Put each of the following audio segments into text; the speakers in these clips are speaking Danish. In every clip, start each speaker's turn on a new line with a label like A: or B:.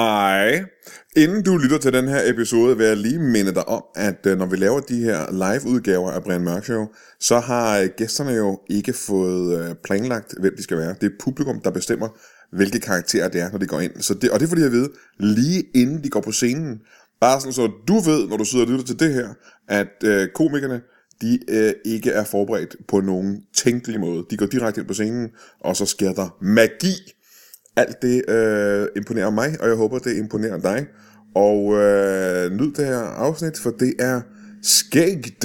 A: Hej. Inden du lytter til den her episode, vil jeg lige minde dig om, at øh, når vi laver de her live-udgaver af Brian Mørk Show, så har øh, gæsterne jo ikke fået øh, planlagt, hvem de skal være. Det er publikum, der bestemmer, hvilke karakterer det er, når de går ind. Så det, og det er fordi, jeg ved, lige inden de går på scenen, bare sådan så du ved, når du sidder og lytter til det her, at øh, komikerne, de øh, ikke er forberedt på nogen tænkelig måde. De går direkte ind på scenen, og så sker der magi. Alt det øh, imponerer mig, og jeg håber, det imponerer dig. Og øh, nyd det her afsnit, for det er skægt.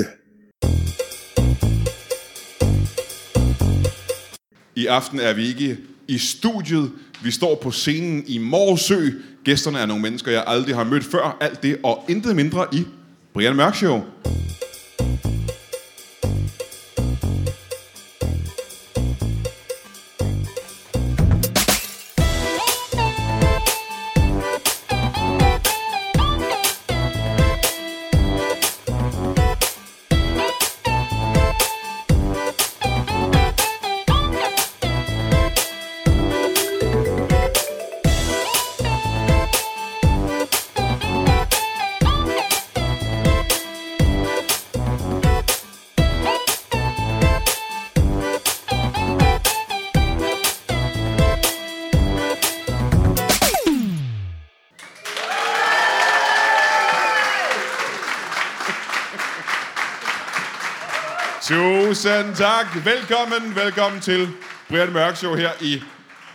B: I aften er vi ikke i studiet. Vi står på scenen i Morsø. Gæsterne er nogle mennesker, jeg aldrig har mødt før. Alt det og intet mindre i Brian Mørk Show. Tusind tak. Velkommen, velkommen til Brian Mørk Show her i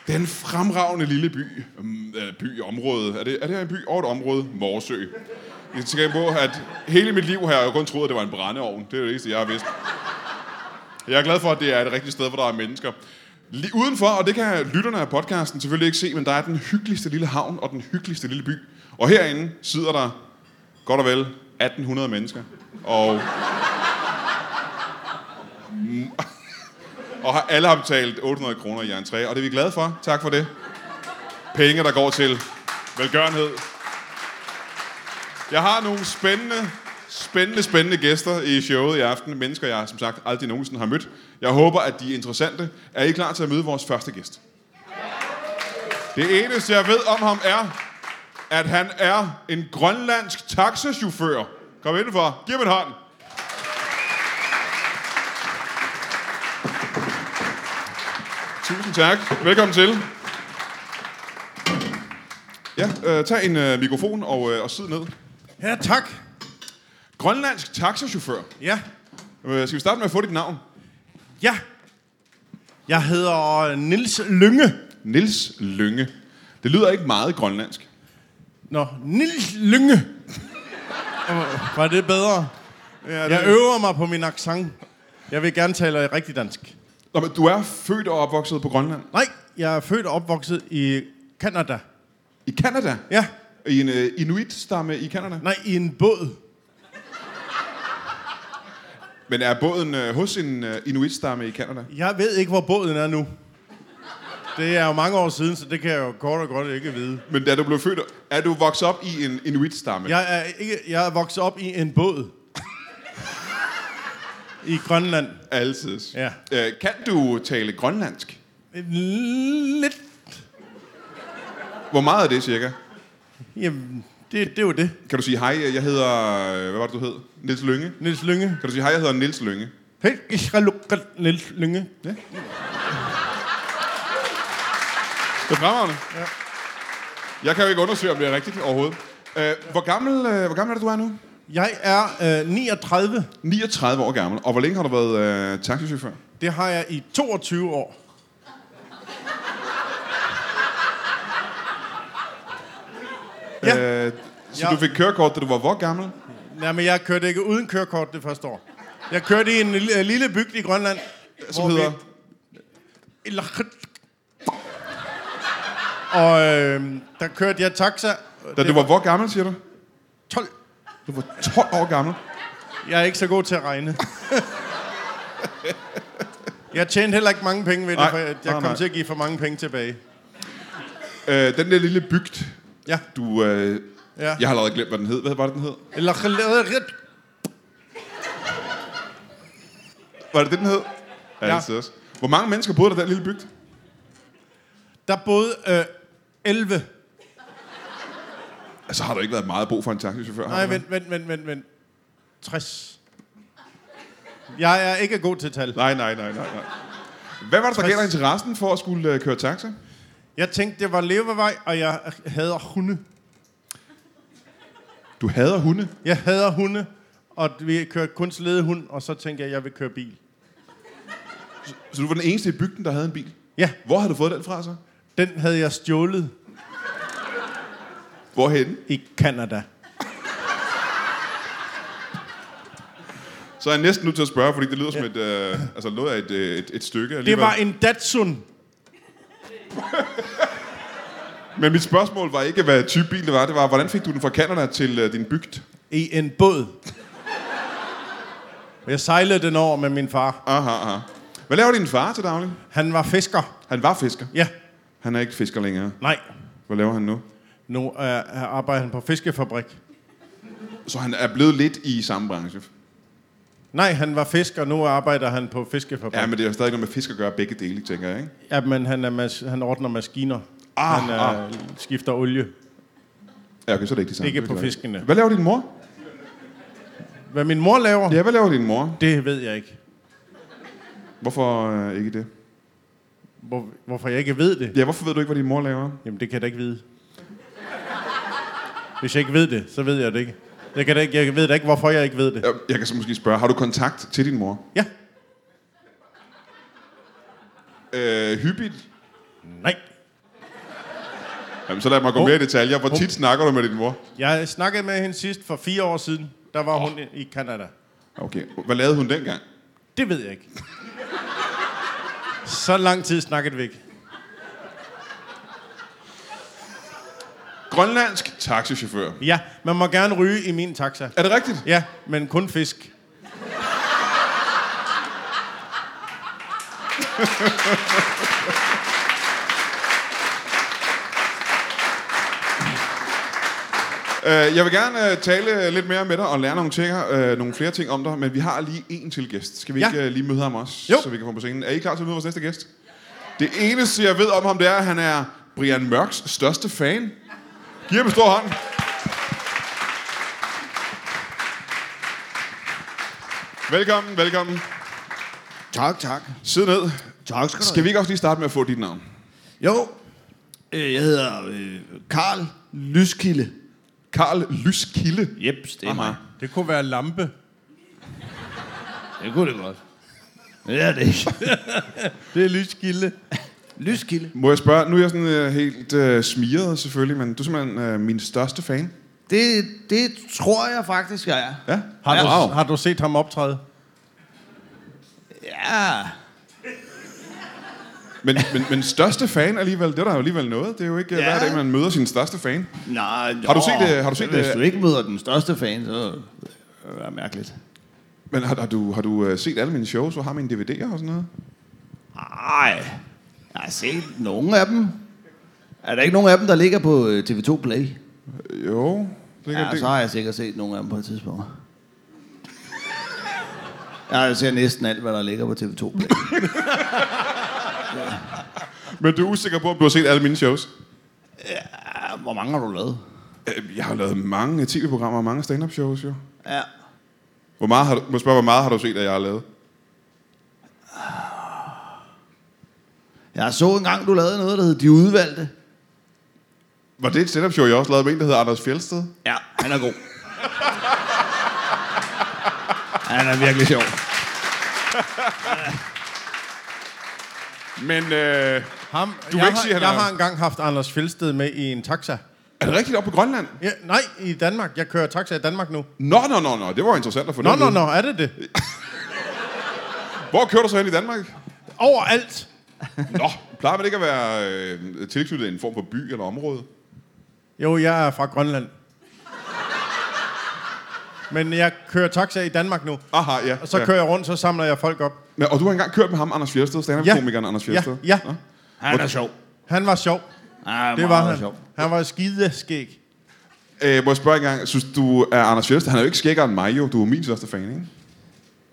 B: den fremragende lille by, mm, øh, by område. Er det, er det her en by og et område? Morsø. Jeg tænker på, at hele mit liv har jeg jo kun troet, at det var en brændeovn. Det er det eneste, jeg har vidst. Jeg er glad for, at det er et rigtigt sted, hvor der er mennesker. Lige udenfor, og det kan lytterne af podcasten selvfølgelig ikke se, men der er den hyggeligste lille havn og den hyggeligste lille by. Og herinde sidder der godt og vel 1800 mennesker. Og Og har alle har betalt 800 kroner i entré, og det er vi glade for. Tak for det. Penge, der går til velgørenhed. Jeg har nogle spændende, spændende, spændende gæster i showet i aften. Mennesker, jeg som sagt aldrig nogensinde har mødt. Jeg håber, at de er interessante. Er I klar til at møde vores første gæst? Det eneste, jeg ved om ham, er, at han er en grønlandsk taxachauffør. Kom indenfor. Giv ham en hånd. Tusind tak. Velkommen til. Ja, øh, tag en øh, mikrofon og, øh, og sid ned.
C: Ja, tak.
B: Grønlandsk taxachauffør.
C: Ja,
B: Øh, skal vi starte med at få dit navn?
C: ja. Jeg hedder øh, Nils Lynge.
B: Nils Lynge. Det lyder ikke meget grønlandsk.
C: Nå, Nils Lynge. Åh, Var det bedre?
B: Ja,
C: Jeg øver mig på min accent. Jeg vil gerne tale rigtig dansk.
B: Nå, men du er født og opvokset på Grønland.
C: Nej, jeg er født og opvokset i Kanada.
B: I Kanada?
C: Ja,
B: I en øh, inuit-stamme i Kanada?
C: nej, i en båd.
B: Men er båden øh, hos en øh, inuit-stamme i Kanada?
C: Jeg ved ikke, hvor båden er nu. Det er jo mange år siden, så det kan jeg jo kort og godt ikke vide.
B: Men da du blev født, er du vokset op i en inuit-stamme?
C: Jeg er, ikke, jeg er vokset op i en båd. I Grønland.
B: Altid.
C: Ja.
B: Øh, kan du tale grønlandsk?
C: Lidt.
B: Hvor meget er det cirka?
C: Jamen, det, det er jo det.
B: Kan du sige hej, jeg hedder... øh, Hvad var det, du hed? Nils Lønge?
C: Niels Lynge.
B: Kan du sige hej, jeg hedder Nils Lønge?
C: Hey, Israelukkat, Niels Lynge.
B: Ja. Det er fremragende. Ja. Jeg kan jo ikke undersøge, om det er rigtigt overhovedet. Øh, hvor, gammel, øh, hvor gammel er det, du er nu?
C: Jeg er øh, 39.
B: 39 år gammel. Og hvor længe har du været øh, taxichauffør?
C: Det har jeg i 22 år. Ja.
B: Øh, så
C: Ja.
B: du fik kørekort, da du var hvor gammel?
C: Jamen, jeg kørte ikke uden kørekort det første år. Jeg kørte i en lille, øh, lille bygd i Grønland.
B: Som
C: hvor vi-
B: hedder...
C: Ilakit. Og øh, der kørte jeg taxa. øh,
B: Da du var hvor gammel, siger du?
C: 12.
B: Du var 12 år gammel.
C: Jeg er ikke så god til at regne. Jeg tjente heller ikke mange penge ved det,
B: Nej,
C: for jeg, jeg
B: nej,
C: kom
B: nej.
C: til at give for mange penge tilbage.
B: Øh, den der lille bygd,
C: Ja.
B: du... Øh,
C: Ja.
B: Jeg har allerede glemt, hvad den hed. Hvad var det, den hed?
C: Eller ret.
B: Var det det, den hed? Ja. Altid også. Hvor mange mennesker boede der i den lille bygd?
C: Der boede øh, 11.
B: Altså har der ikke været meget brug for en taxichauffør? har
C: Nej,
B: der?
C: vent, vent, vent, vent, vent. 60. Jeg er ikke god til tal.
B: Nej, nej, nej, nej, nej. Hvad var det, der gav dig interessen for at skulle øh, køre taxa?
C: Jeg tænkte, det var levevej, og jeg hader hunde.
B: Du hader hunde.
C: Jeg hader hunde, og vi kørte kun sledehund, og så tænkte jeg, at jeg vil køre bil.
B: Så du var den eneste i bygden, der havde en bil.
C: Ja,
B: Hvor havde du fået den fra så?
C: den havde jeg stjålet
B: Hvorhenne?
C: i Kanada.
B: Så er jeg næsten nødt til at spørge, fordi det lyder som et, øh, altså noget af et, øh, et, et stykke
C: Det
B: alligevel.
C: var en Datsun.
B: Men mit spørgsmål var ikke, hvad type bil det var. Det var, hvordan fik du den fra Canada til øh, din bygd?
C: i en båd. Og Jeg sejlede den over med min far.
B: Aha, aha. Hvad laver din far til daglig?
C: Han var fisker.
B: Han var fisker.
C: Ja,
B: Han er ikke fisker længere.
C: nej.
B: Hvad laver han nu?
C: Nu øh, arbejder han på fiskefabrik.
B: Så han er blevet lidt i samme branche.
C: Nej, han var fisker, nu arbejder han på fiskefabrik.
B: Ja,
C: Jamen,
B: men det er jo stadig noget med fisk at gøre begge dele, tænker jeg, ikke?
C: Jamen han, er mas- han ordner maskiner.
B: Ah,
C: han øh, skifter olie.
B: Ja, okay, så er det ikke det samme.
C: Ikke
B: Det
C: på
B: gør jeg ikke.
C: fiskene.
B: Hvad laver din mor?
C: Hvad min mor laver,
B: Ja, hvad laver din mor?
C: det ved jeg ikke.
B: Hvorfor øh, ikke det?
C: Hvor, hvorfor jeg ikke ved det?
B: Ja, hvorfor ved du ikke, hvad din mor laver?
C: Jamen, det kan jeg da ikke vide. Hvis jeg ikke ved det, så ved jeg det ikke. Jeg, kan da ikke, jeg ved da ikke, hvorfor jeg ikke ved det.
B: Jeg, jeg kan så måske spørge, har du kontakt til din mor?
C: Ja,
B: Øh, hyppigt?
C: nej.
B: Jamen, så lad mig gå
C: Oh.
B: mere i detaljer. Hvor tit snakker du med din mor?
C: Jeg snakkede med hende sidst for fire år siden. Der var hun i Kanada.
B: Okay, hvad lavede hun dengang?
C: Det ved jeg ikke. Så lang tid snakkede vi ikke.
B: Grønlandsk taxichauffør.
C: Ja, man må gerne ryge i min taxa.
B: Er det rigtigt?
C: Ja, men kun fisk.
B: Øh, jeg vil gerne øh, tale lidt mere med dig og lære nogle, ting, øh, nogle flere ting om dig, men vi har lige en til gæst. Skal vi
C: Ja.
B: ikke øh, lige møde ham også,
C: Jo.
B: så vi kan få ham på scenen? Er I klar til at møde vores næste gæst? Det eneste, jeg ved om ham, det er, at han er Brian Mørks største fan. Giv ham en stor hånd. Velkommen, velkommen.
D: Tak, tak.
B: Sid ned.
D: Tak skal du
B: Skal vi ikke også lige starte med at få dit navn?
D: Jo, øh, jeg hedder øh, Karl Lyskilde.
B: Karl Lyskilde.
D: Jep, det er
B: Aha.
C: Det kunne være lampe.
D: Det kunne det godt. Men det er det ikke.
C: Det er lyskilde.
D: Lyskilde.
B: Må jeg spørge, nu er jeg sådan øh, helt øh, smiret selvfølgelig, men du er simpelthen øh, min største fan.
D: Det, det tror jeg faktisk, jeg er.
B: Ja?
C: Har,
D: Ja.
C: du,
B: Wow.
C: har du set ham optræde?
D: Ja.
B: Men, men, men største fan alligevel, det er der jo alligevel noget. Det er jo ikke ja.
D: Ja.
B: hver dag, man møder sin største fan.
D: Nej,
B: Har du set det- har du set
D: Hvis
B: det-
D: du ikke møder den største fan, så er det mærkeligt.
B: Men har, har du, har du øh, set alle mine shows og har mine DVD'er og sådan noget?
D: Nej, jeg har set nogle af dem. Er der ikke nogen af dem, der ligger på øh, TV2 Play?
B: Øh, Jo. Det kan,
D: Ja, så har jeg sikkert set nogle af dem på et tidspunkt. Jeg ser næsten alt, hvad der ligger på TV2 Play.
B: Men du er usikker på, om du har set alle mine shows?
D: Ja, hvor mange har du lavet?
B: Øh, Jeg har lavet mange tv-programmer og mange stand-up shows, jo.
D: Ja.
B: Hvor meget har du, må jeg spørge, hvor meget har du set, at jeg har lavet?
D: Jeg så engang, du lavede noget, der hed De Udvalgte.
B: Var det et stand-up show, jeg også lavede med en, der hedder Anders Fjeldsted?
D: Ja, han er god. han er virkelig sjov.
B: Men øh,
C: Ham,
B: vil
C: jeg,
B: ikke
C: har,
B: sige, han
C: jeg
B: er-
C: har engang haft Anders Fjeldsted med i en taxa.
B: er det rigtigt op på Grønland?
C: Ja, nej, i Danmark. Jeg kører taxa i Danmark nu.
B: Nå, nå, nå, nå. Det var interessant at få
C: Nå,
B: det at
C: nå,
B: vide.
C: nå, er det det?
B: Hvor kører du så hen i Danmark?
C: Overalt.
B: Nå, plejer man ikke at være øh, tilknyttet en form for by eller område?
C: Jo, jeg er fra Grønland. Men jeg kører taxa i Danmark nu.
B: Aha, ja.
C: Og så
B: ja.
C: kører jeg rundt, så samler jeg folk op.
B: Men, og du har engang kørt med ham, Anders Fjeldsted, stand-up-komikeren Anders
C: Ja,
B: Fjeldsted?
C: ja.
B: Nå.
D: Han er sjov.
C: Han var sjov.
D: Han er
C: Det
D: meget
C: var han.
D: sjov.
C: Han var skideskæg.
B: Øh, må jeg spørge engang, synes du, er Anders Fjeldsted, han er jo ikke skækkere end mig jo, du er min største fan, ikke?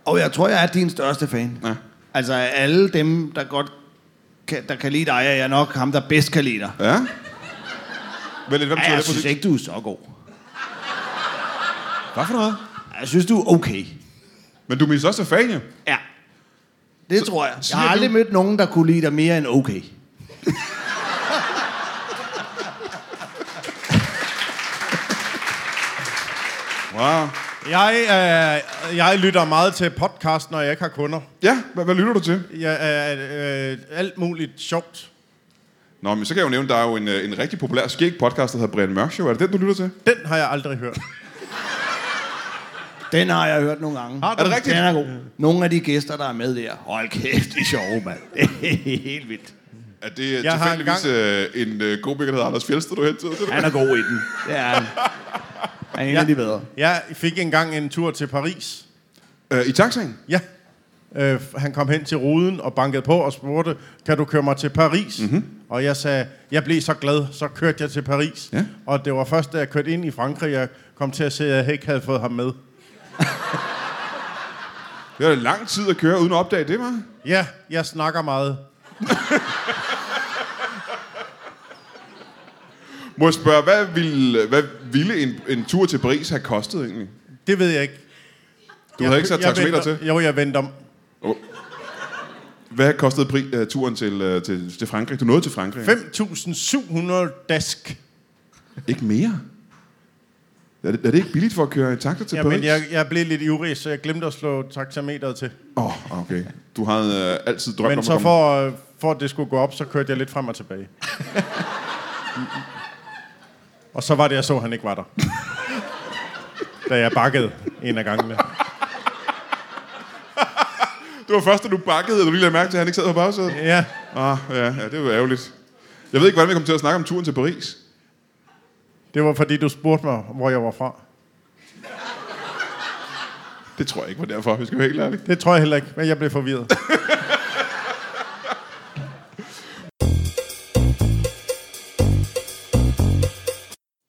D: Og jeg tror, jeg er din største fan.
B: Ja.
D: Altså af alle dem, der godt kan, der kan lide dig, er jeg nok ham, der bedst kan lide dig.
B: Ja? Vel, hvem tog
D: Ja, jeg
B: det på
D: synes
B: sidst?
D: ikke, du er så god.
B: Hvad for noget?
D: Jeg synes, du er okay.
B: Men du misser også Stefania.
D: Ja. Det tror jeg. Jeg har
B: siger
D: aldrig mødt nogen, der kunne lide dig mere end okay.
B: Wow.
C: Jeg, øh, jeg lytter meget til podcast, når jeg ikke har kunder.
B: Ja, hvad, hvad lytter du til?
C: Jeg, øh, øh, alt muligt sjovt.
B: Nå, men så kan jeg jo nævne, der er jo en, øh, en rigtig populær skæg podcast, der hedder Brian Mørk Show. Er det den, du lytter til?
C: Den har jeg aldrig hørt.
D: Den har jeg hørt nogle gange.
C: Har du
B: Er det rigtigt?
D: Den er god. Nogle af de gæster, der er med der. Hold kæft, de er sjove, mand. Det er helt vildt.
B: Er det øh,
C: Jeg har
B: tilfældigvis øh, en øh, komiker, der hedder Anders Fjeldsted, du hentede? til?
D: Han er god i den. Det er han. Han er en af de bedre.
C: Jeg fik engang en tur til Paris.
B: Øh, I taxaen?
C: Ja. Øh, han kom hen til ruden og bankede på og spurgte, kan du køre mig til Paris?
B: Mhm.
C: Mm-hmm. Og jeg sagde, jeg blev så glad, så kørte jeg til Paris.
B: Ja.
C: Og det var først, da jeg kørte ind i Frankrig, jeg kom til at se, at jeg ikke havde fået ham med.
B: Det var da lang tid at køre uden at opdage det, var.
C: Ja, jeg snakker meget.
B: Må jeg spørge, hvad ville, hvad ville en, en tur til Paris have kostet egentlig?
C: Det ved jeg ikke.
B: Du havde ikke sat
C: jeg
B: taxameter
C: venter-
B: til?
C: Jo, jeg vendte om.
B: Hvad kostede pri- øh, turen til, øh, til, til Frankrig? Du nåede til Frankrig.
C: 5.700 dask.
B: Ikke mere? Er det, er det ikke billigt for at køre en taxa til
C: Jamen,
B: Paris?
C: jeg, jeg blev lidt ivrig, så jeg glemte at slå taxameteret til.
B: Åh, oh, okay. Du havde øh, altid drømt om
C: Men
B: at
C: så
B: komme...
C: for, øh, for at det skulle gå op, så kørte jeg lidt frem og tilbage. og så var det, jeg så, at han ikke var der. da jeg bakkede en af gangene.
B: Det var først, da du bakkede, og du lige lagde mærke til, at han ikke sad på bagsædet.
C: Ja,
B: Ah, ja, ja, det var ærgerligt. Jeg ved ikke, hvordan vi kom til at snakke om turen til Paris.
C: det var fordi, du spurgte mig, hvor jeg var fra.
B: Det tror jeg ikke var derfor, vi skal være helt ærlige.
C: Det tror jeg heller ikke, men jeg blev forvirret.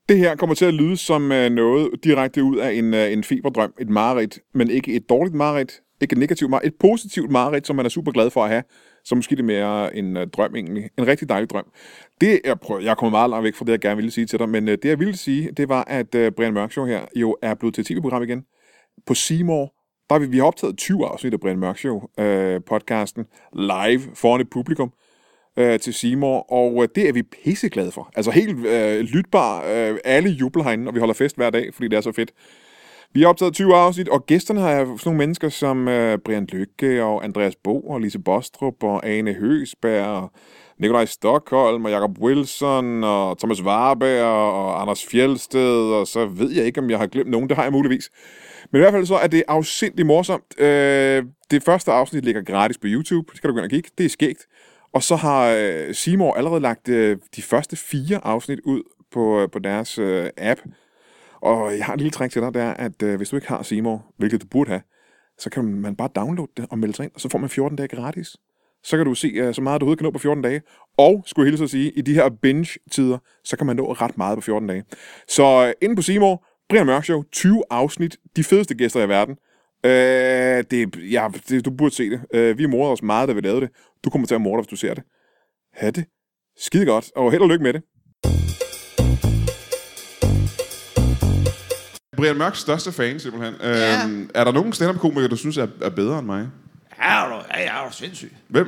A: Det her kommer til at lyde som øh, noget direkte ud af en, øh, en feberdrøm, et mareridt, men ikke et dårligt mareridt, ikke et negativt mareridt, et positivt mareridt, som man er super glad for at have, så måske det er mere en øh, drøm egentlig, en rigtig dejlig drøm. Det, jeg, prøver, jeg kommer meget langt væk fra det, jeg gerne ville sige til dig, men øh, det jeg ville sige, det var, at øh, Brian Mørk Show her jo er blevet til et tv-program igen på Seymour, der har vi, vi har optaget 20 afsnit af Brian Mørk Show, øh, podcasten, live foran et publikum øh, til Seymour, og øh, det er vi pisseglade for. Altså helt øh, lytbar, øh, alle jubler herinde, og vi holder fest hver dag, fordi det er så fedt. Vi har optaget 20 afsnit, og gæsterne har jeg sådan nogle mennesker som øh, Brian Lykke og Andreas Bo og Lise Bostrup og Ane Høsberg og Nikolaj Stockholm og Jacob Wilson og Thomas Warberg og Anders Fjeldsted, og så ved jeg ikke, om jeg har glemt nogen. Det har jeg muligvis. Men i hvert fald så er det afsindig morsomt. Øh, det første afsnit ligger gratis på YouTube. Det kan du gå ind og kigge. Det er skægt. Og så har øh, Seymour allerede lagt øh, de første fire afsnit ud på, øh, på deres øh, app. Og jeg har en lille trick til dig, det er, at øh, hvis du ikke har Seymour, hvilket du burde have, så kan man bare downloade det og melde sig ind, og så får man 14 dage gratis. Så kan du se øh, så meget, du overhovedet kan nå på 14 dage. Og, skulle jeg hilse at sige, i de her binge-tider, så kan man nå ret meget på 14 dage. Så øh, inde på Seymour, Brian Mørk Show, 20 afsnit, de fedeste gæster i verden. Øh, det, ja, det, du burde se det. Øh, vi morder os meget, da vi lavede det. Du kommer til at morde, hvis du ser det. Ha' det. Skide godt, og held og lykke med det.
B: Brian Mørks største fan, simpelthen. Ja. Øhm, er der nogen stand-up-komikere, du synes er, er bedre end mig?
D: Ja, er du, ja, ja, er du sindssyg.
B: Hvem?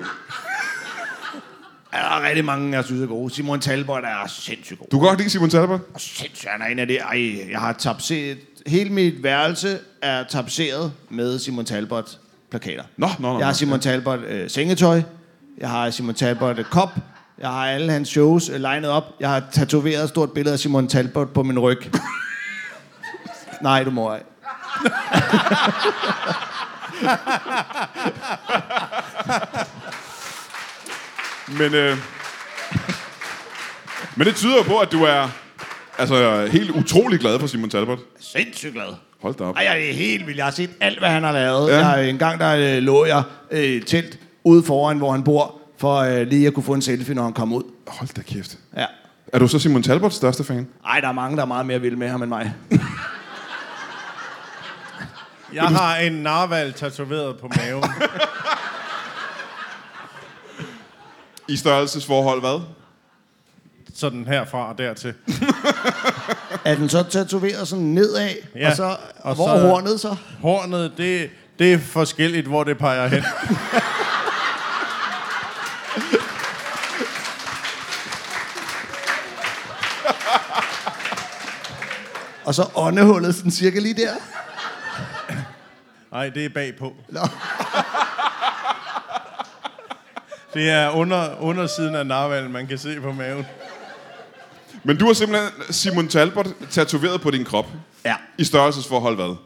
D: Ja, Der er rigtig mange, jeg synes er gode. Simon Talbot er sindssygt god.
B: Du kan godt lide Simon Talbot?
D: Og Sindssygt, han er en af det. Ej, jeg har tapseret... Hele mit værelse er tapseret med Simon Talbot plakater.
B: Nå, nå, nå, nå.
D: Jeg har Simon Talbot øh, sengetøj. Jeg har Simon Talbot øh, kop. Jeg har alle hans shows øh, legnet op. Jeg har tatoveret et stort billede af Simon Talbot på min ryg. Nej, du må ej.
B: Men, øh, men det tyder jo på, at du er altså, helt utrolig glad for Simon Talbot.
D: Sindssygt glad.
B: Hold da op.
D: Ej, jeg er helt vildt. Jeg har set alt, hvad han har lavet.
B: Ja.
D: Ja. Jeg, en gang der øh, lå jeg øh, i et telt ude foran, hvor han bor, for øh, lige at kunne få en selfie, når han kom ud.
B: Hold da kæft.
D: Ja.
B: Er du så Simon Talbots største fan?
D: Ej, der er mange, der er meget mere vilde med ham end mig.
C: Jeg har en narval tatoveret på maven.
B: I størrelsesforhold hvad?
C: Sådan herfra og dertil.
D: er den så tatoveret sådan nedad, ja.
C: Ja,
D: og så, og
C: og
D: hvor
C: så-
D: er hornet så?
C: Hornet, det, det er forskelligt, hvor det peger hen.
D: Og så åndehullet sådan cirka lige der.
C: Nej, det er bagpå.
D: Nå.
C: Det er under, undersiden af narvalen, man kan se på maven.
B: Men du har simpelthen Simon Talbot tatoveret på din krop.
D: Ja.
B: I størrelsesforhold hvad?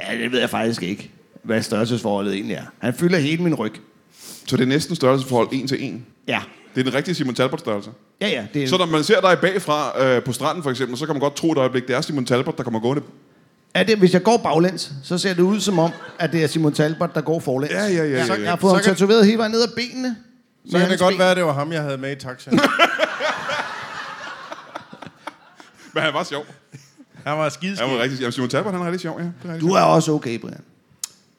D: ja, det ved jeg faktisk ikke, hvad størrelsesforholdet egentlig er. Han fylder hele min ryg.
B: Så det er næsten størrelsesforhold en til en.
D: Ja,
B: Det er den rigtige Simon Talbot-størrelse.
D: ja, ja. Det er,
B: Så når man ser dig bagfra øh, på stranden for eksempel, så kan man godt tro et øjeblik, det er Simon Talbot, der kommer gående.
D: er det, hvis jeg går baglæns, så ser det ud som om, at det er Simon Talbot, der går forlæns.
B: Ja, ja, ja.
D: Så,
B: ja,
D: jeg
B: ja.
D: har fået
C: Så
D: ham
C: kan-
D: tatoveret hele vejen ned ad benene.
C: Så
D: Med
C: kan det
D: hans
C: godt
D: ben.
C: være, at det var ham, jeg havde med i taxaen.
B: Men han var sjov.
C: Han var skideskidt.
B: Han var rigtig, jamen, Simon Talbot, han er rigtig sjov, ja. Det er rigtig
D: Du er også okay, Brian.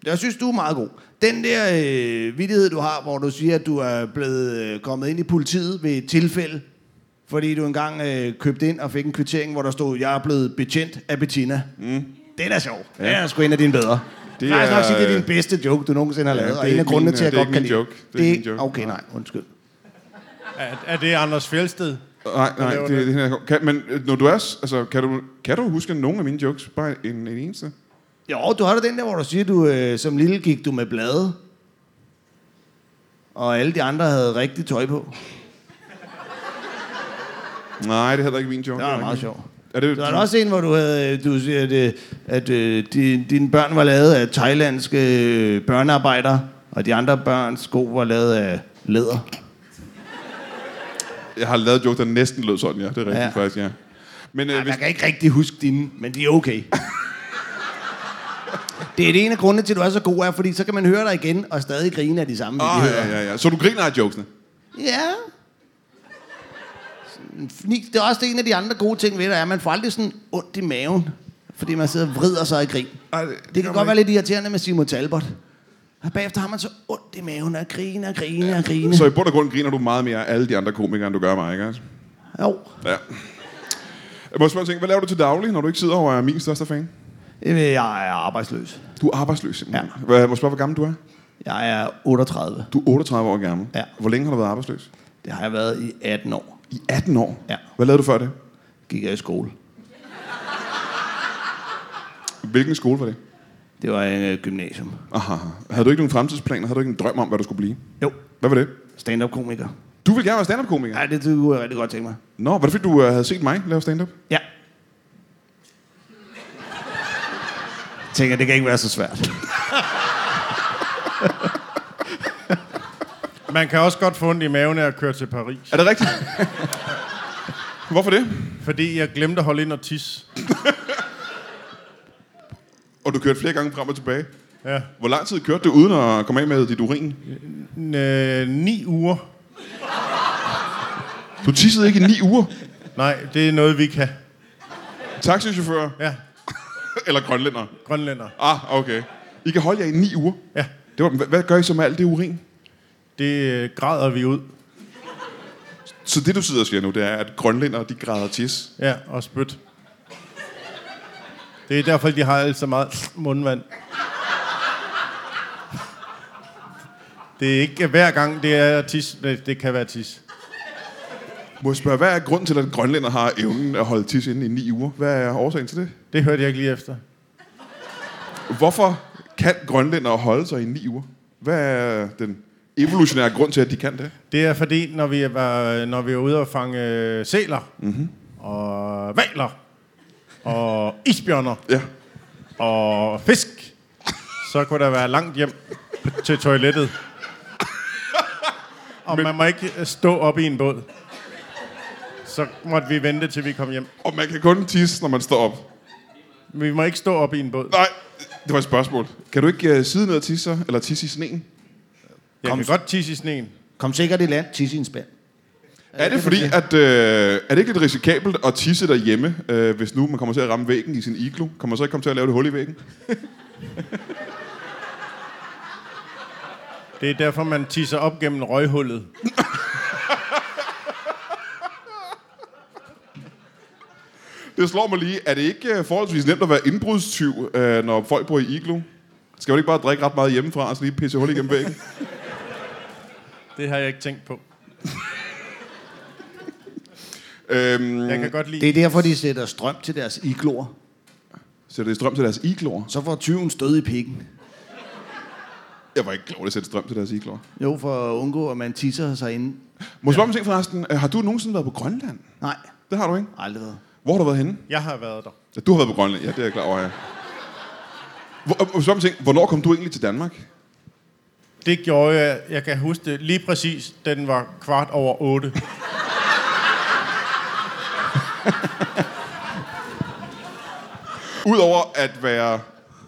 D: Jeg synes, du er meget god. Den der øh, vidighed, du har, hvor du siger, at du er blevet øh, kommet ind i politiet ved et tilfælde, fordi du engang øh, købte ind og fik en kvittering, hvor der stod, jeg er blevet betjent af Bettina. Mm. Det er da sjov. Ja. Det er sgu en af dine bedre.
B: Det
D: Det er,
B: er,
D: nok sige, det er din
B: øh,
D: bedste joke, du nogensinde har
B: Ja,
D: lavet,
B: det
D: og
B: er
D: en af
B: ikke
D: grundene
B: min,
D: til,
B: øh,
D: at jeg
B: det er
D: godt
B: ikke min joke. Det
D: kan lide.
B: er ikke min joke.
D: Okay, nej, undskyld.
C: Er, er det Anders Fjeldsted?
B: Nej, nej,
C: laver
B: det, det, det kan, men øh, når du er, s- altså, kan du, kan du huske nogen af mine jokes? Bare en, en eneste?
D: Jo, du har da den der, hvor du siger, du øh, som lille gik du med blade. Og alle de andre havde rigtig tøj på.
B: Nej, det er heller ikke min joke.
D: Det var
B: er
D: meget
B: rigtigt.
D: sjovt.
B: Er det,
D: Der er der også en, hvor du, havde, du siger, at, øh, at øh, di- dine børn var lavet af thailandske øh, børnearbejdere, og de andre børns sko var lavet af læder.
B: Jeg har lavet en joke, der næsten lød sådan, ja. Det er rigtigt
D: Ja.
B: ja. faktisk, ja. Men øh,
D: Ej,
B: hvis,
D: Jeg kan ikke rigtig huske dine, men de er okay. Det er det ene af grundene til, at du er så god er, fordi så kan man høre dig igen og stadig grine af de samme
B: Åh,
D: vidigheder.
B: ja, ja, ja. Så du griner af jokesene?
D: Ja. Sådan fnis. Det er også det en af de andre gode ting ved det, er, at man får aldrig sådan ondt i maven, fordi man sidder og vrider sig i grin.
B: Ej, det-
D: det,
B: det
D: det
B: gør
D: kan
B: man
D: godt være lidt irriterende med Simon Talbot. Og bagefter har man så ondt i maven og griner og griner og griner.
B: Så i bund og grund griner du meget mere af alle de andre komikere, end du gør af mig, ikke? også?
D: Jo.
B: Ja. Jeg må spørge en ting. Hvad laver du til daglig, når du ikke sidder og er min største fan?
D: Jamen, Øh, Jeg er arbejdsløs.
B: Du er arbejdsløs simpelthen.
D: Ja.
B: Ja. Jeg må spørge, hvor gammel du er?
D: Jeg er 38.
B: Du er 38 år gammel.
D: Ja.
B: Hvor længe har du været arbejdsløs?
D: Det har jeg været i 18 år.
B: I 18 år?
D: Ja.
B: Hvad lavede du før det?
D: Gik jeg i skole.
B: Hvilken skole var det?
D: Det var en øh, gymnasium.
B: Aha. Havde du ikke nogen fremtidsplaner? Havde du ikke en drøm om, hvad du skulle blive?
D: Jo,
B: Hvad var det?
D: stand-up-komiker.
B: Du ville gerne være stand-up-komiker?
D: Ja, det kunne jeg rigtig godt tænke mig.
B: Nå, var det fordi, du øh, havde set mig lave stand-up?
D: Ja. Jeg tænker, det kan ikke være så svært.
C: Man kan også godt få ondt i maven af at køre til Paris.
B: Er det rigtigt? Hvorfor det?
C: Fordi jeg glemte at holde ind og tisse.
B: Og du kørte flere gange frem og tilbage.
C: Ja.
B: Hvor lang tid kørte du uden at komme af med dit urin?
C: N- øh, ni uger.
B: Du tissede ikke i ni uger.
C: Nej, det er noget, vi kan.
B: Taxichauffør
C: Ja,
B: eller grønlænder?
C: grønlænder.
B: Ah, okay. I kan holde jer i ni uger.
C: Ja,
B: Det var, hvad- hvad gør I så med alt det urin?
C: det øh, græder vi ud.
B: Så det, du sidder og siger nu, det er, at grønlænder, de græder tis.
C: Ja, og spyt. Det er derfor, de har alt så meget mundvand. Det er ikke hver gang, det er tis. Det, det kan være tis.
B: Må jeg spørge, hvad er grunden til, at grønlænder har evnen at holde tis inde i ni uger? Hvad er årsagen til det?
C: Det hørte jeg ikke lige efter.
B: Hvorfor kan grønlænder holde sig i ni uger? Hvad er den evolutionære grund til, at de kan det?
C: Det er fordi, når vi var, når vi var ude og fange øh, sæler, mm-hmm. og valer, og isbjørner,
B: Ja.
C: og fisk, så kunne der være langt hjem p- til toilettet. Og Men... man må ikke øh, stå op i en båd. Så måtte vi vente, til vi kom hjem.
B: Og man kan kun tisse, når man står op.
C: Vi må ikke stå op i en båd.
B: Nej, det var et spørgsmål. Kan du ikke uh, sidde ned og tisse, så? eller tisse i sneen?
C: Jeg kan godt tisse i sneen.
D: Kom sikkert i land, tisse i en spand.
B: Er det fordi, at øh, er det ikke lidt risikabelt at tisse derhjemme, øh, hvis nu man kommer til at ramme væggen i sin iglo? Kommer man så ikke komme til at lave det hul i væggen?
C: Det er derfor, man tisser op gennem røghullet.
B: Det slår mig lige. Er det ikke øh, forholdsvis nemt at være indbrudstyv, øh, når folk bor i iglo? Skal man ikke bare drikke ret meget hjemmefra, og så lige pisse hul igennem væggen?
C: Det har jeg ikke tænkt på.
B: øhm,
C: Jeg kan godt lide...
D: Det er derfor, de sætter strøm til deres iglor.
B: sætter de strøm til deres igloer?
D: Så får tyven stød i pikken.
B: Jeg var ikke klar over, at sætte strøm til deres igloer.
D: Jo, for at undgå, at man tisser sig ind.
B: Må jeg spørge om en ting forresten? Øh, Har du nogensinde været på Grønland?
D: Nej,
B: Det har du ikke.
D: aldrig været.
B: Hvor har du været henne?
C: Jeg har været der.
B: Ja, du har været på Grønland. Ja, det er jeg klar over, ja. Hvor, øh, og- og så en ting. Hvornår kom du egentlig til Danmark?
C: Det gjorde jeg, jeg kan huske det lige præcis, da den var kvart over otte.
B: Udover at være...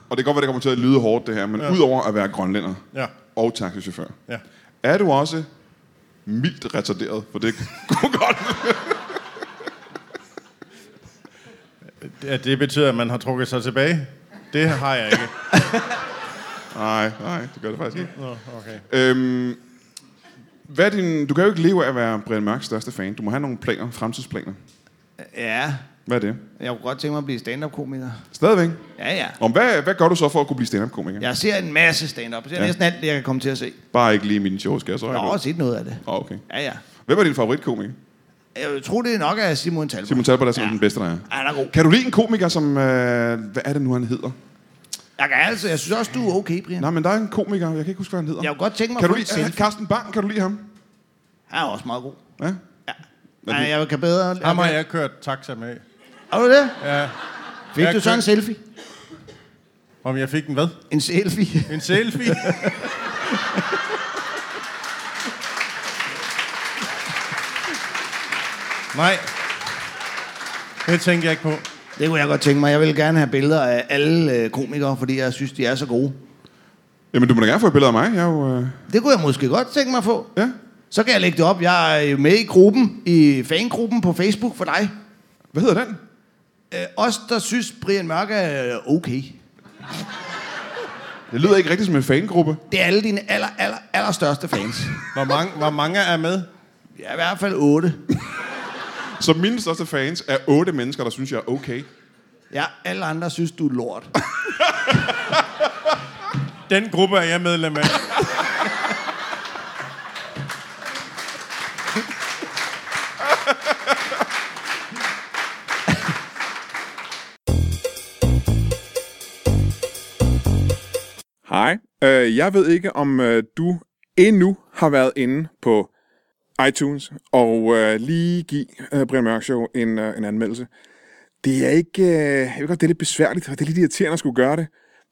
B: Og det kan godt være, det kommer til at lyde hårdt, det her. Men ja. udover at være grønlænder
C: Ja,
B: og taxichauffør,
C: ja.
B: er du også mildt retarderet? For det kunne godt...
C: Ja, det betyder, at man har trukket sig tilbage. Det har jeg ikke.
B: Nej, nej, det gør det faktisk ikke.
C: Nå, okay.
B: Øhm, hvad er din, du kan jo ikke leve af at være Brian Mørks største fan. Du må have nogle planer, fremtidsplaner.
D: Ja,
B: Hvad er det?
D: jeg kunne godt tænke mig at blive stand-up-komiker.
B: Stadigvæk.
D: Ja, ja.
B: Om hvad, hvad gør du så for at kunne blive stand-up-komiker? Ja.
D: Jeg ser en masse stand-up. Jeg ser
B: Ja.
D: ja. næsten alt det, jeg kan komme til at se.
B: Bare ikke lige mine shows, skal jeg så
D: Jeg har
B: regne ud?
D: også set noget af det.
B: Åh, okay.
D: Ja, ja.
B: Hvem er din favoritkomiker?
D: Jeg tror, det er nok af Simon Talbot.
B: Simon Talbot er sådan ja.
D: Ja.
B: den bedste, der er.
D: Ja, han er god.
B: Kan du lide en komiker, som... Øh, hvad er det nu, han hedder?
D: Jeg, kan altså, jeg synes også, du er okay, Brian.
B: Nej, men der er en komiker, jeg kan ikke huske, hvad han hedder.
D: Jeg kunne godt tænke mig
B: kan du
D: at få
B: lide
D: en
B: øh,
D: selfie.
B: Carsten Bang? Kan du lide ham?
D: Han er også meget god.
B: Ja.
D: Ja.
B: er
D: Nej,
B: det?
D: jeg kan bedre...
C: Ham har jeg kørt taxa med.
D: Har du det?
C: Ja.
D: Fik
C: Jeg
D: du så
C: kan-
D: en selfie?
C: Om jeg fik en hvad?
D: En selfie?
C: En selfie? Nej. Det tænkte jeg ikke på.
D: Det kunne jeg godt tænke mig. Jeg vil gerne have billeder af alle øh, komikere, fordi jeg synes, de er så gode.
B: Jamen, du må da gerne få et billede af mig. Jeg er jo... Øh,
D: Det kunne jeg måske godt tænke mig at få.
B: ja.
D: Så kan jeg lægge det op. Jeg er jo med i gruppen, i fangruppen på Facebook for dig.
B: Hvad hedder den?
D: Øh, os, der synes, Brian Mørk er okay.
B: Det lyder ikke rigtigt som en fangruppe.
D: Det er alle dine aller, aller, aller største fans.
C: Hvor mange, hvor mange er med?
D: Jeg er i hvert fald otte.
B: Så mine største fans er otte mennesker, der synes, jeg er okay.
D: Ja, alle andre synes, du er lort.
C: Den gruppe er jeg medlem af.
A: Hej. Øh, jeg ved ikke, om øh, du endnu har været inde på iTunes og øh, lige give øh, Brian Mørk Show en, øh, en anmeldelse. Det er ikke... Øh, jeg ved godt, det er lidt besværligt, og det er lidt irriterende at skulle gøre det,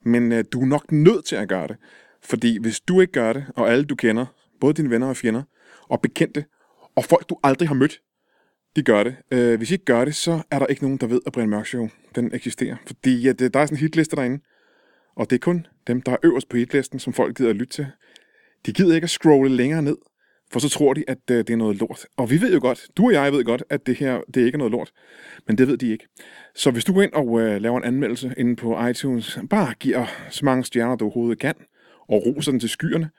A: men øh, du er nok nødt til at gøre det. Fordi hvis du ikke gør det, og alle du kender, både dine venner og fjender, og bekendte, og folk du aldrig har mødt, de gør det. Øh, hvis I ikke gør det, så er der ikke nogen, der ved, at Brian Mørk Show den eksisterer. Fordi at, øh, der er sådan en hitliste derinde, og det er kun dem, der er øverst på hitlisten, som folk gider at lytte til. De gider ikke at scrolle længere ned, for så tror de, at øh, det er noget lort. Og vi ved jo godt, du og jeg ved godt, at det her det ikke er noget lort. Men det ved de ikke. Så hvis du går ind og øh, laver en anmeldelse inde på iTunes, bare giver så mange stjerner, du overhovedet kan, og roser den til skyerne,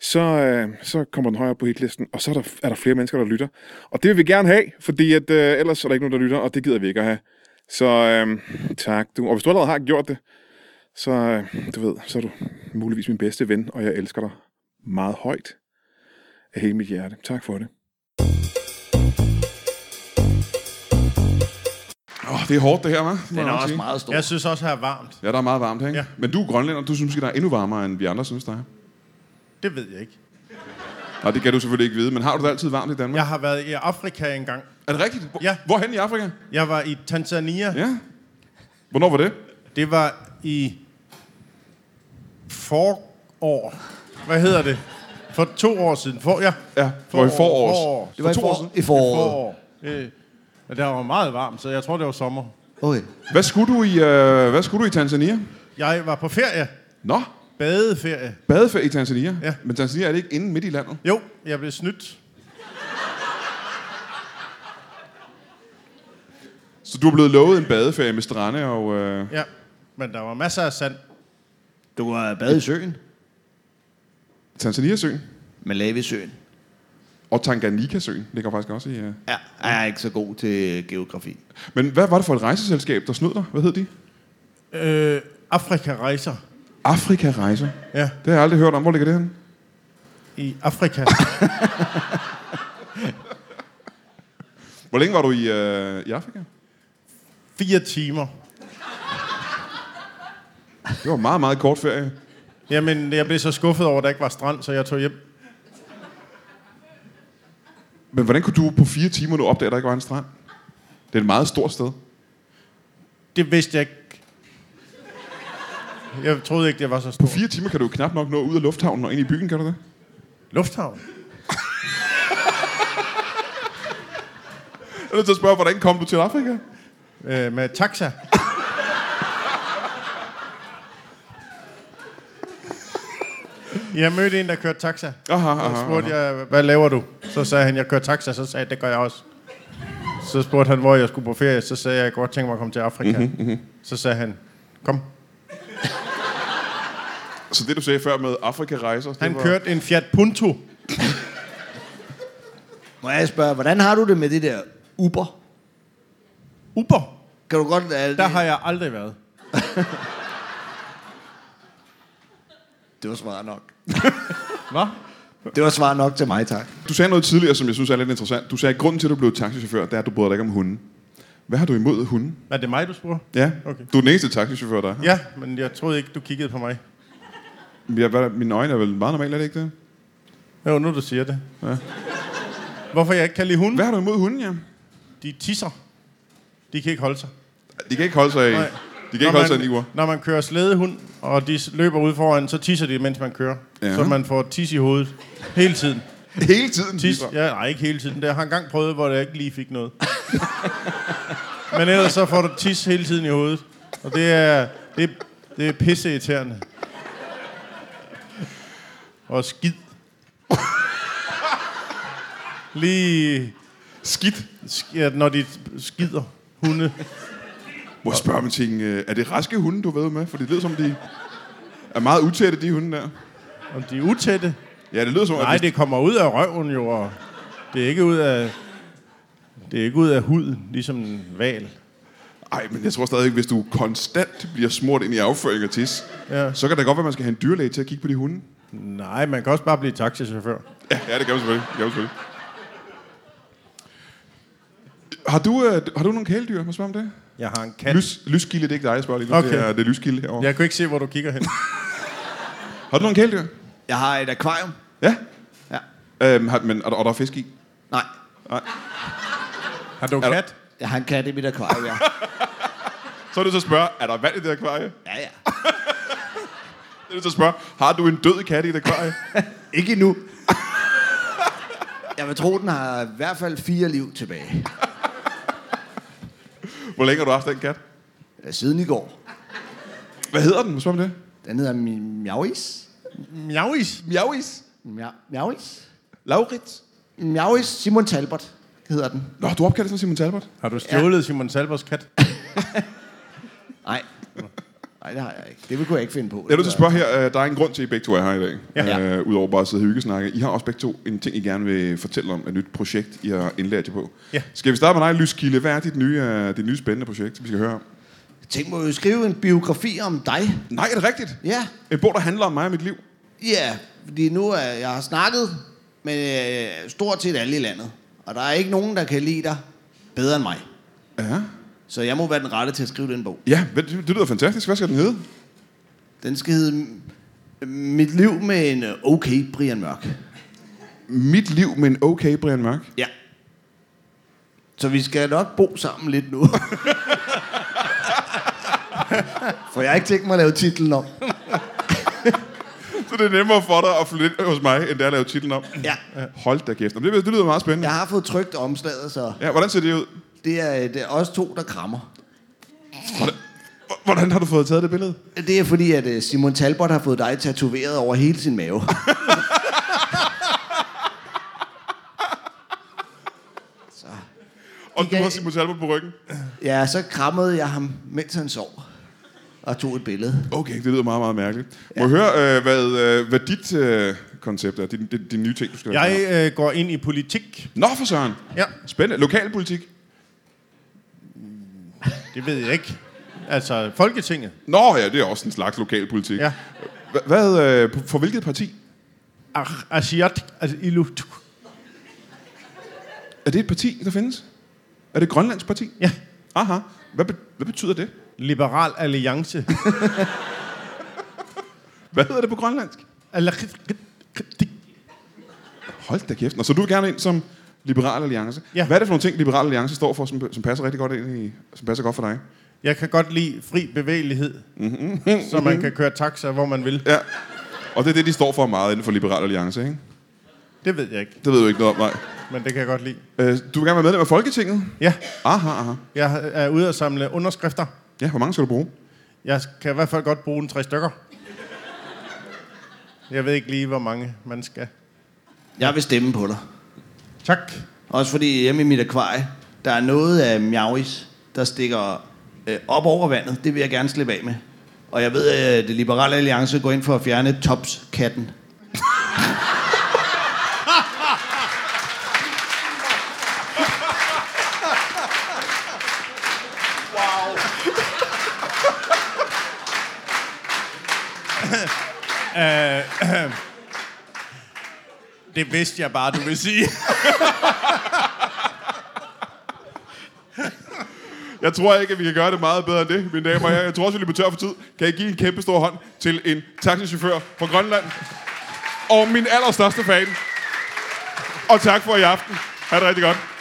A: så, øh, så kommer den højere på hitlisten, og så er der, er der flere mennesker, der lytter. Og det vil vi gerne have, fordi at, øh, ellers er der ikke nogen, der lytter, og det gider vi ikke at have. Så øh, tak du. Og hvis du allerede har gjort det, så øh, du ved, så er du muligvis min bedste ven, og jeg elsker dig meget højt af hele mit hjerte. Tak for det.
B: Åh, oh, det er hårdt, det her, hva'?
D: Den er også meget stor.
C: Jeg synes også, her er varmt.
B: Ja, der er meget varmt, ikke? Ja.
C: Ja.
B: Men du er grønlænder, du synes måske, der er endnu varmere, end vi andre synes, der er.
C: Det ved jeg ikke.
B: Nej, det kan du selvfølgelig ikke vide, men har du det altid varmt i Danmark?
C: Jeg har været i Afrika engang.
B: Er det rigtigt? Hvor,
C: Ja.
B: Hvorhen i Afrika?
C: Jeg var i Tanzania.
B: Ja. Hvornår var det?
C: Det var i forår. Hvad hedder det? For to år siden. For, ja.
B: Ja, det var i forårs.
C: forår.
D: det var
B: for
D: i
B: to år
D: for, i foråret.
C: Forår. Øh, og der var meget varmt, så jeg tror, det var sommer.
D: Okay.
B: Hvad skulle du i, øh, hvad skulle du i Tanzania?
C: Jeg var på ferie.
B: Nå,
C: Badeferie.
B: badeferie i Tanzania.
C: Ja.
B: Men Tanzania er det ikke inde midt i landet.
C: Jo, jeg blev snydt.
B: Så du er blevet lovet en badeferie med strande og... Øh...
C: Ja. Men der var masser af sand.
D: Du har badet i søen.
B: Tanzania-søen.
D: Malawi-søen.
B: Og Tanganyika-søen ligger faktisk også i... Øh.
D: Ja, jeg er ikke så god til geografi.
B: Men hvad var det for et rejseselskab, der snød dig? Hvad hed de?
C: Øh, Afrika-rejser.
B: Afrika-rejser.
C: Ja,
B: Det har jeg aldrig hørt om. Hvor ligger det henne?
C: i Afrika.
B: Hvor længe var du i, øh, i Afrika?
C: Fire timer.
B: Det var en meget, meget kort ferie.
C: Jamen, jeg blev så skuffet over, at der ikke var strand, så jeg tog hjem.
B: Men hvordan kunne du på fire timer nu opdage, at der ikke var en strand? Det er et meget stort sted.
C: Det vidste jeg ikke. Jeg troede ikke, det var så
B: På
C: stort.
B: fire timer kan du jo knap nok nå ud af lufthavnen og ind i byen, kan du det?
C: Lufthavn.
B: Jeg er nødt til at spørge, hvordan kom du til Afrika?
C: Øh, med taxa. Jeg mødte en, der kørte taxa.
B: Aha,
C: Så
B: aha, aha.
C: spurgte jeg, hvad laver du? Så sagde han, jeg kører taxa. Så sagde jeg, det gør jeg også. Så spurgte han, hvor jeg skulle på ferie. Så sagde jeg, jeg kunne godt tænke mig at komme til Afrika. Mm-hmm,
B: Mhm,
C: Så sagde han, kom.
B: Så det, du sagde før med Afrika-rejser... det
C: Han
B: var-
C: kørte en Fiat Punto.
D: Må jeg spørge, hvordan har du det med det der Uber?
C: Uber.
D: Kan du godt... øh, Er,
C: Der har jeg aldrig været.
D: Det var svar nok.
C: Hvad?
D: Det var svar nok til mig, tak.
B: Du sagde noget tidligere, som jeg synes er lidt interessant. Du sagde, at grunden til, at du blev taxichauffør, det er, at du bryder dig ikke om hunden. Hvad har du imod hunden?
C: Er det mig, du spørger?
B: Ja, okay.
C: Okay.
B: du er den eneste taxichauffør, der er.
C: Ja, men jeg troede ikke, du kiggede på mig.
B: Ja. hvad- Mine øjne er vel meget normale, er det ikke det?
C: Jo, nu du siger det. Ja. Hvorfor jeg ikke kan lide hunde?
B: Hvad har du imod hunden, ja?
C: De tisser. De kan ikke holde sig.
B: De kan ikke holde sig i...
C: Nej.
B: De kan ikke holde sig i en uger.
C: når man kører slædehund, og de s- løber ud foran, så tisser de, mens man kører.
B: Ja.
C: Ja. Så man får tis i hovedet. Hele tiden.
B: Hele tiden.
C: Tis, ja, nej, ikke hele tiden. Jeg har engang prøvet, hvor jeg ikke lige fik noget. Men ellers så får du tis hele tiden i hovedet. Og det er, det, det er pisseirriterende. Og skid. Lige...
B: Skidt.
C: sk- Ja, når de skider hunde.
B: Må jeg spørge om en ting? øh, Er det raske hunde, du ved med? For det lyder som, de er meget utætte, de hunde der.
C: Om de er utætte.
B: Ja, det lyder som,
C: Nej,
B: at hvis-
C: det kommer ud af røven jo, og det er ikke ud af, det er ikke ud af huden, ligesom en val.
B: Ej, men jeg tror stadig ikke, hvis du konstant bliver smurt ind i afføring og tis, ja.
C: Ja.
B: så kan det godt være, at man skal have en dyrlæge til at kigge på de hunde.
C: Nej, man kan også bare blive taxichauffør.
B: Ja, ja det kan man selvfølgelig. Det kan man selvfølgelig. Har du, øh, har du nogle kæledyr? Må jeg spørge om det?
C: Jeg har en kat.
B: Lys, lysgilde, det er ikke dig, jeg spørger lige nu. Okay.
C: Okay.
B: Det er, det er lysgilde herovre. Ja.
C: Jeg kunne ikke se, hvor du kigger hen.
B: Har du nogle kæledyr?
D: Jeg har et akvarium.
B: Ja.
D: Ja.
B: Øhm, har, men, og, og der er fisk i?
D: Nej,
C: Har du en kat?
D: jeg har en kat i mit akvarium, ja.
B: Så er det så at spørge, er der vand i det akvarie?
D: Ja, ja.
B: Det er det så at spørge, har du en død kat i det akvarie?
D: Ikke endnu. Jeg vil tro, den har i hvert fald fire liv tilbage.
B: Hvor længe har du haft den kat?
D: Øh, Siden i går.
B: Hvad hedder den? Må jeg spørge om det?
D: Den hedder Mi- Mjauis.
C: Mjauis.
B: Mjauis.
D: Mja- Mjauis?
B: Laurits.
D: Mjauis Simon Talbot hedder den.
B: Nå, du opkaldte sådan Simon Talbot.
C: Har du stjålet Simon Salvers kat?
D: Nej. Nej, det har jeg ikke. Det vil kunne jeg ikke finde på.
B: Jeg er nødt til at spørge her, øh, der er en grund til, at I begge to er her i dag.
D: Ja.
B: Ja. Øh, Udover bare at sidde og hyggesnakke. I har også begge to en ting, I gerne vil fortælle om, et nyt projekt, I har indlært jer på.
C: Ja.
B: Skal vi starte med dig, Lyskilde? Hvad er dit nye, øh, dit nye spændende projekt, vi skal høre om?
D: Tænk mig at skrive en biografi om dig.
B: Nej, er det rigtigt?
D: Ja,
B: En bog, der handler om mig og mit liv.
D: ja. Fordi nu er jeg har snakket med øh, stort set alle i landet. Og der er ikke nogen, der kan lide dig bedre end mig.
B: Ja.
D: Så jeg må være den rette til at skrive den bog.
B: Ja, det, det lyder fantastisk. Hvad skal den hedde?
D: Den skal hedde M- Mit liv med en øh, okay Brian Mørk.
B: Mit liv med en okay Brian Mørk.
D: Ja. Så vi skal nok bo sammen lidt nu. For jeg har ikke tænkt mig at lave titlen om.
B: Så det er nemmere for dig at flytte ind hos mig, end det er at lave titlen om.
D: Ja.
B: Hold da kæft. Jamen, Det, det lyder meget spændende.
D: Jeg har fået trygt omslaget, så
B: Ja, hvordan ser det ud?
D: det er, øh, det er os to, der krammer.
B: H- Hvordan har du fået taget det billede?
D: Det er fordi, at øh, Simon Talbot har fået dig tatoveret over hele sin mave.
B: Og
D: De
B: du
D: gav-
B: har Simon Talbot på ryggen.
D: Ja, så krammede jeg ham, mens han sov. Og tog et billede.
B: Okay, det lyder meget, meget mærkeligt. Må jeg høre, øh, hvad, øh, hvad dit øh, koncept er? De, de, de nye ting, du skal have
C: Jeg øh, går ind i politik.
B: Nå for søren.
C: Ja,
B: Spændende. Lokalpolitik.
C: det ved jeg ikke. Altså, Folketinget.
B: Nå ja, det er også en slags lokalpolitik.
C: Ja.
B: Hva- Hvad, øh, på- for hvilket parti?
C: Ach, Asiat, altså Ilut.
B: Er det et parti, der findes? Er det et grønlandsk parti?
C: Ja,
B: Aha. Hvad, be- hvad betyder det?
C: Liberal Alliance.
B: Hvad hedder det på grønlandsk?
C: Alakritik.
B: Hold da kæft. Nå, så du vil gerne ind som Liberal Alliance.
C: Ja.
B: Hvad er det for nogle ting, Liberal Alliance står for, som, som passer rigtig godt ind i, som passer godt for dig?
C: Jeg kan godt lide fri bevægelighed, mm-hmm. så man kan køre taxa, hvor man vil.
B: Ja. Og det er det, de står for meget inden for Liberal Alliance, ikke?
C: Det ved jeg ikke,
B: Det ved du ikke noget om, nej.
C: men det kan jeg godt lide.
B: Øh, du vil gerne være medlem af Folketinget?
C: Ja,
B: Aha, aha.
C: jeg er ude at samle underskrifter.
B: Ja, hvor mange skal du bruge?
C: Jeg kan i hvert fald godt bruge en tre stykker. Jeg ved ikke lige, hvor mange man skal.
D: Jeg vil stemme på dig.
C: Tak.
D: Også fordi hjemme i mit akvarie, der er noget af miauis, der stikker øh, op over vandet. Det vil jeg gerne slippe af med. Og jeg ved, at øh, det liberale alliance går ind for at fjerne topskatten.
C: Det vidste jeg bare, du ville sige.
B: Jeg tror ikke, at vi kan gøre det meget bedre end det, mine damer og herrer. Jeg tror også, vi løber tør for tid. Kan I give en kæmpe stor hånd til en taxichauffør fra Grønland? Og min allerstørste fan. Og tak for i aften. Ha' det rigtig godt.